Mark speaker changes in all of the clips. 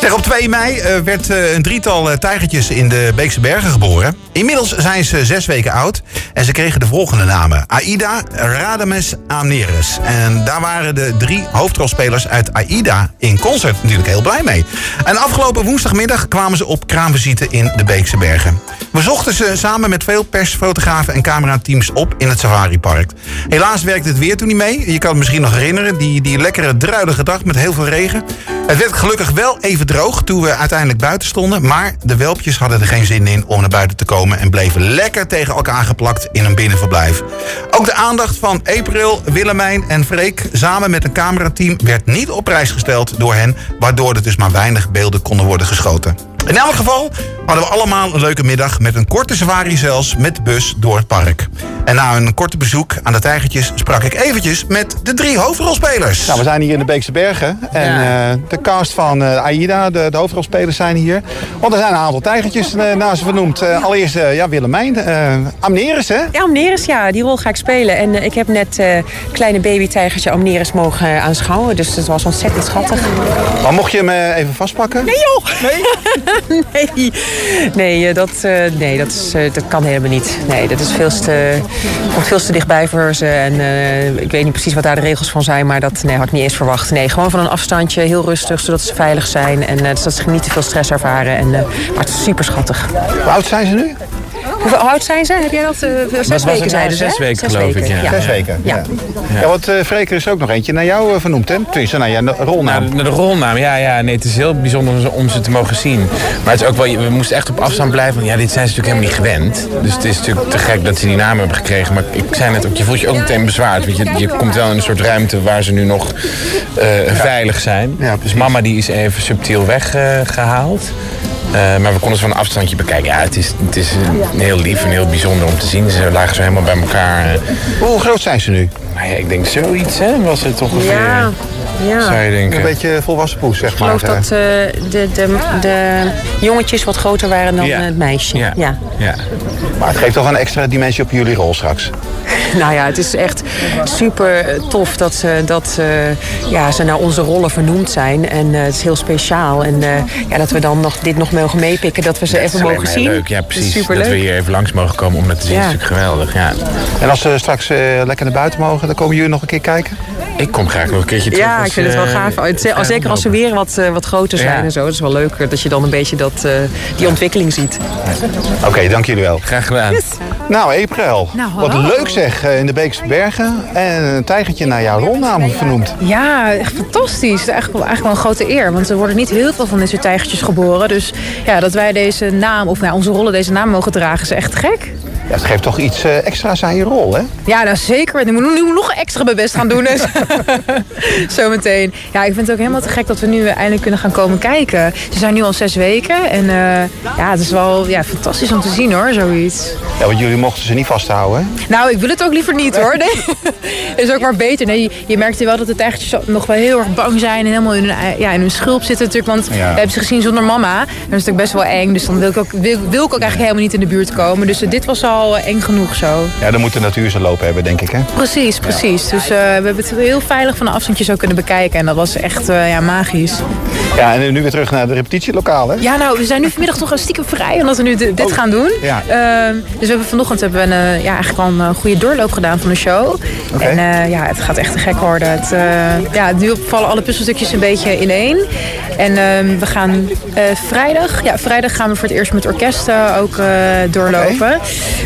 Speaker 1: Zeg, op 2 mei eh, werd eh, een drietal eh, tijgertjes in de Beekse Bergen geboren. Inmiddels zijn ze zes weken oud en ze kregen de volgende namen. Aida, Radames, Amneres. En daar waren de drie hoofdrolspelers uit Aida in concert natuurlijk heel blij mee. En afgelopen woensdagmiddag kwamen ze op kraamvisite in de Beekse Bergen. We zochten ze samen met veel persfotografen en camerateams op in het safaripark. Helaas werkte het weer toen niet mee. Je kan het misschien nog herinneren, die, die lekkere druilige dag met heel veel regen. Het werd gelukkig wel even droog toen we uiteindelijk buiten stonden. Maar de welpjes hadden er geen zin in om naar buiten te komen. En bleven lekker tegen elkaar geplakt in een binnenverblijf. Ook de aandacht van April, Willemijn en Freek samen met een camerateam werd niet op prijs gesteld door hen. Waardoor er dus maar weinig beelden konden worden geschoten. In elk geval hadden we allemaal een leuke middag met een korte safari zelfs met de bus door het park. En na een korte bezoek aan de tijgertjes sprak ik eventjes met de drie hoofdrolspelers.
Speaker 2: Nou, we zijn hier in de Beekse Bergen. En
Speaker 3: Ja.
Speaker 2: eh, de cast van eh, Aida, de, de hoofdrolspelers, zijn hier. Want er zijn een aantal tijgertjes eh, naar ze vernoemd. Eh, allereerst eh, ja, Willemijn. eh Amneris, hè?
Speaker 3: Ja, Amneris, ja, die rol ga ik spelen. En eh, ik heb net eh kleine babytijgertje Amneris mogen eh, aanschouwen. Dus dat was ontzettend schattig.
Speaker 2: Maar mocht je hem eh, even vastpakken?
Speaker 3: Nee joh! Nee? nee. eh, dat, eh, nee dat, is, eh, dat kan helemaal niet. Nee, dat is veel te, komt veel te dichtbij voor ze. En eh, ik weet niet precies wat daar de regels van zijn. Maar dat nee, had ik niet eens verwacht. Nee, gewoon van een afstandje, heel rustig, zodat ze veilig zijn. En eh, zodat ze niet te veel stress ervaren. En, eh, maar het is super schattig.
Speaker 2: Hoe oud zijn ze nu?
Speaker 3: Hoe oud zijn ze? Heb jij dat? eh, zes
Speaker 4: was het, ja,
Speaker 3: weken zeiden ze,
Speaker 4: zes
Speaker 3: hè?
Speaker 4: weken, geloof ik, ja.
Speaker 2: Zes weken.
Speaker 3: Ja.
Speaker 2: Ja, want eh Freek, er is ook nog eentje naar jou eh, vernoemd, hè? Tenminste, naar jouw rolnaam.
Speaker 4: Nou, de, de rolnaam, ja, ja. Nee, het is heel bijzonder om ze- om ze te mogen zien. Maar het is ook wel, we moesten echt op afstand blijven. Want ja, dit zijn ze natuurlijk helemaal niet gewend. Dus het is natuurlijk te gek dat ze die naam hebben gekregen. Maar ik zei net ook, je voelt je ook meteen bezwaard. Want je, je komt wel in een soort ruimte waar ze nu nog eh, veilig zijn.
Speaker 2: Ja,
Speaker 4: dus
Speaker 2: precies.
Speaker 4: mama die is even subtiel weggehaald. Eh, maar we konden ze van een afstandje bekijken. Ja, het is, het is eh, heel lief en heel bijzonder om te zien. Ze lagen zo helemaal bij elkaar. eh.
Speaker 2: Hoe groot zijn ze nu?
Speaker 4: Nou ja, ik denk zoiets, hè, was het ongeveer.
Speaker 3: Ja. ja.
Speaker 4: Zou je denken.
Speaker 2: Een beetje eh, volwassen poes, zeg
Speaker 3: Ik
Speaker 2: maar.
Speaker 3: geloof dat eh, de, de, de jongetjes wat groter waren dan
Speaker 4: Ja.
Speaker 3: eh, het meisje.
Speaker 4: Ja.
Speaker 3: Ja.
Speaker 4: ja.
Speaker 2: Eh, Maar het geeft toch een extra dimensie op jullie rol straks.
Speaker 3: Nou ja, het is echt super eh, tof dat ze, dat, eh, ja, ze naar onze rollen vernoemd zijn. En eh, het is heel speciaal. En eh, ja, dat we dan nog, dit nog mogen meepikken, dat we ze
Speaker 4: Dat is
Speaker 3: even
Speaker 4: alleen
Speaker 3: mogen
Speaker 4: maar
Speaker 3: zien.
Speaker 4: Leuk, ja,
Speaker 3: Dat is
Speaker 4: precies. Dat,
Speaker 3: superleuk.
Speaker 4: we hier even langs mogen komen om dat te zien.
Speaker 3: Ja.
Speaker 4: is natuurlijk geweldig. Ja.
Speaker 2: En als ze straks eh, lekker naar buiten mogen, dan komen jullie nog een keer kijken?
Speaker 4: Ik kom graag nog een keertje terug.
Speaker 3: Ja,
Speaker 4: als,
Speaker 3: ik vind het wel
Speaker 4: eh,
Speaker 3: gaaf.
Speaker 4: het
Speaker 3: Het-
Speaker 4: vrijdag
Speaker 3: Zeker als ze
Speaker 4: open
Speaker 3: weer wat, eh, wat groter zijn
Speaker 4: Ja.
Speaker 3: en zo. Het is wel leuker dat je dan een beetje dat, eh, die ontwikkeling ziet.
Speaker 2: Oké, dank jullie wel.
Speaker 4: is. Graag gedaan.
Speaker 2: Nou, April.
Speaker 5: Nou,
Speaker 2: wat
Speaker 5: hallo.
Speaker 2: leuk zeg, eh, in de Beekse Bergen. En een tijgertje naar jouw rolnaam vernoemd.
Speaker 5: Ja, echt fantastisch. Het is Eigenlijk, wel- eigenlijk wel een grote eer. Want er worden niet heel veel van dit soort tijgertjes geboren. Dus ja, dat wij deze naam, of nou, onze rollen deze naam mogen dragen, is echt gek.
Speaker 2: Ja, het geeft toch iets eh, extra's aan je rol, hè?
Speaker 5: Ja, nou zeker. Ik moet nu nog extra mijn best gaan doen. Dus. Zometeen. Ja, ik vind het ook helemaal te gek dat we nu eindelijk kunnen gaan komen kijken. Ze zijn nu al zes weken. En eh, ja, het is wel ja, fantastisch om te zien hoor, zoiets.
Speaker 2: Ja, want jullie mochten ze niet vasthouden. hè?
Speaker 5: Nou, ik wil het ook liever niet hoor. Nee. is ook maar beter. Nee, je- je merkte wel dat de tijgertjes nog wel heel erg bang zijn. En helemaal in hun, ei- ja, in hun schulp zitten natuurlijk. Want we hebben ze gezien zonder mama. En dat is natuurlijk best wel eng. Dus dan wil ik ook, wil, wil ik ook eigenlijk helemaal niet in de buurt komen. Dus eh, dit was al eh, eng genoeg zo.
Speaker 2: Ja, dan moet de natuur ze lopen hebben, denk ik, hè?
Speaker 5: Precies, precies. Dus eh, we hebben het heel veilig van een afstandje zo kunnen bekijken. En dat was echt eh, ja, magisch.
Speaker 2: Ja, en nu weer terug naar de repetitielokaal, hè?
Speaker 5: Ja, nou, we zijn nu vanmiddag toch een stiekem vrij omdat we nu di- dit gaan doen.
Speaker 2: Oh. ja.
Speaker 5: Ehm, dus we hebben vanochtend hebben we een, eh, ja, eigenlijk al een eh, goede doorloop gedaan van de show.
Speaker 2: Oké.
Speaker 5: En eh, ja, het gaat echt te gek worden. Het, eh, ja, nu vallen alle puzzelstukjes een beetje ineen. En ehm, we gaan eh, vrijdag, ja, vrijdag gaan we voor het eerst met orkesten ook eh, doorlopen.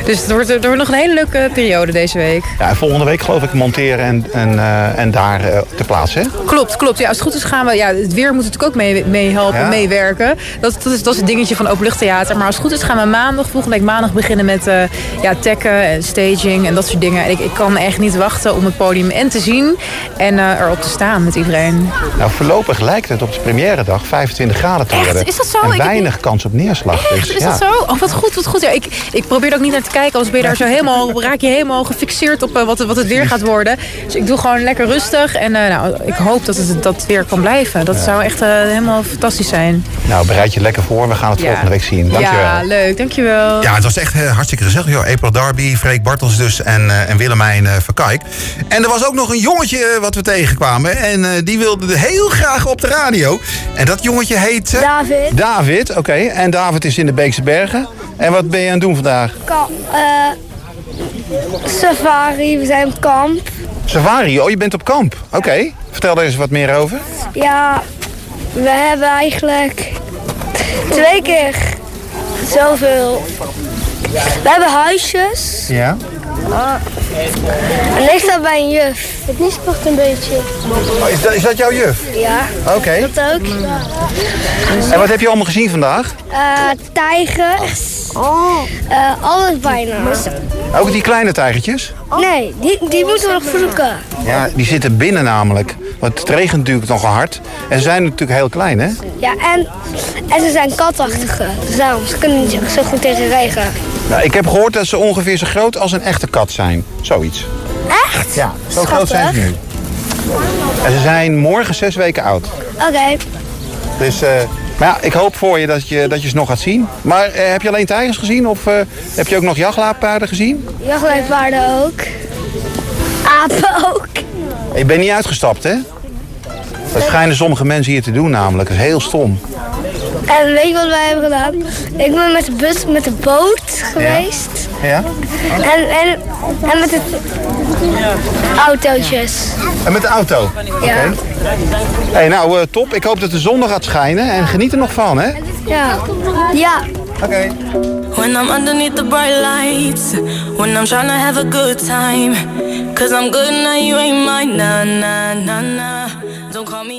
Speaker 5: Dus het wordt, het wordt nog een hele leuke periode deze week.
Speaker 2: Ja, en volgende week geloof ik monteren en, en, eh, en daar eh, te plaatsen, hè?
Speaker 5: Klopt, klopt. Ja, als het goed is gaan we... Ja, het weer moet natuurlijk ook mee, meehelpen,
Speaker 2: Ja.
Speaker 5: meewerken. Dat, dat, is, dat is het dingetje van openluchttheater. Maar als het goed is gaan we maandag, volgende week maandag beginnen met eh, ja, tekken en staging en dat soort dingen. En ik, ik kan echt niet wachten om het podium en te zien en eh, erop te staan met iedereen.
Speaker 2: Nou, voorlopig lijkt het op de première dag 25 graden te
Speaker 5: Echt?
Speaker 2: worden.
Speaker 5: Is dat zo? Ik
Speaker 2: En
Speaker 5: heb
Speaker 2: weinig kans op neerslag. dus,
Speaker 5: Is
Speaker 2: ja.
Speaker 5: dat zo? Oh, wat goed, wat goed. Ja, ik, ik probeer er ook niet naar te kijken, anders ben je daar zo helemaal, raak je helemaal gefixeerd op eh, wat, het- wat het weer gaat worden. Dus ik doe gewoon lekker rustig en eh, nou, ik hoop dat het dat weer kan blijven. Dat zou echt eh, helemaal fantastisch zijn.
Speaker 2: Nou, bereid je lekker voor. We gaan het volgende week zien. Dankjewel.
Speaker 5: Ja, leuk. Dankjewel.
Speaker 1: Ja, het was echt eh, hartstikke gezellig. Joh. April Darby, Freek Bartels dus en, eh, en Willemijn eh, Verkijk. En er was ook nog een jongetje eh, wat we tegenkwamen. En eh, die wilde heel graag op de radio. En dat jongetje heet... eh,
Speaker 6: David,
Speaker 2: David, oké. En David is in de Beekse Bergen. En wat ben je aan het doen vandaag?
Speaker 6: ka- eh, safari, we zijn op kamp.
Speaker 2: Safari, oh je bent op kamp. Oké, vertel daar eens wat meer over.
Speaker 6: Ja, we hebben eigenlijk twee keer zoveel. We hebben huisjes.
Speaker 2: Ja.
Speaker 6: En ik sta bij een juf. Het niesport een beetje.
Speaker 2: Oh, is, dat, is dat jouw juf?
Speaker 6: Ja,
Speaker 2: Oké.
Speaker 6: dat ook.
Speaker 2: En wat heb je allemaal gezien vandaag?
Speaker 6: Eh, tijgers. Eh, alles bijna.
Speaker 2: Ook die kleine tijgertjes?
Speaker 6: Nee, die, die moeten we nog zoeken.
Speaker 2: Ja, die zitten binnen namelijk. Want het regent natuurlijk nogal hard. En ze zijn natuurlijk heel klein, hè?
Speaker 6: Ja, en, en ze zijn katachtige. Dus daarom, ze kunnen niet zo goed tegen regen.
Speaker 2: Nou, ik heb gehoord dat ze ongeveer zo groot als een echte kat zijn. Zoiets.
Speaker 6: Echt?
Speaker 2: Ja, zo groot zijn ze nu. En ze zijn morgen zes weken oud.
Speaker 6: Oké.
Speaker 2: Dus, eh, maar ja, ik hoop voor je dat je, dat je ze nog gaat zien. Maar eh, heb je alleen tijgers gezien of eh, heb je ook nog jachtlaappaarden gezien?
Speaker 6: Jachtlijfpaarden ook. Apen ook.
Speaker 2: Ik ben niet uitgestapt, hè? Dat schijnen sommige mensen hier te doen namelijk. Dat is heel stom.
Speaker 6: En weet je wat wij hebben gedaan? Ik ben met de bus, met de boot geweest.
Speaker 2: Ja?
Speaker 6: En, en, en met de autootjes.
Speaker 2: En met de auto?
Speaker 6: Ja.
Speaker 2: hey, nou eh, top. Ik hoop dat de zon nog gaat schijnen. En geniet er nog van, hè?
Speaker 6: Ja. Ja.
Speaker 2: Oké.
Speaker 7: When I'm underneath the bright lights, when I'm tryna have a good time. Cause I'm good now, you ain't mine. Nah, nah, nah, nah. Don't call me.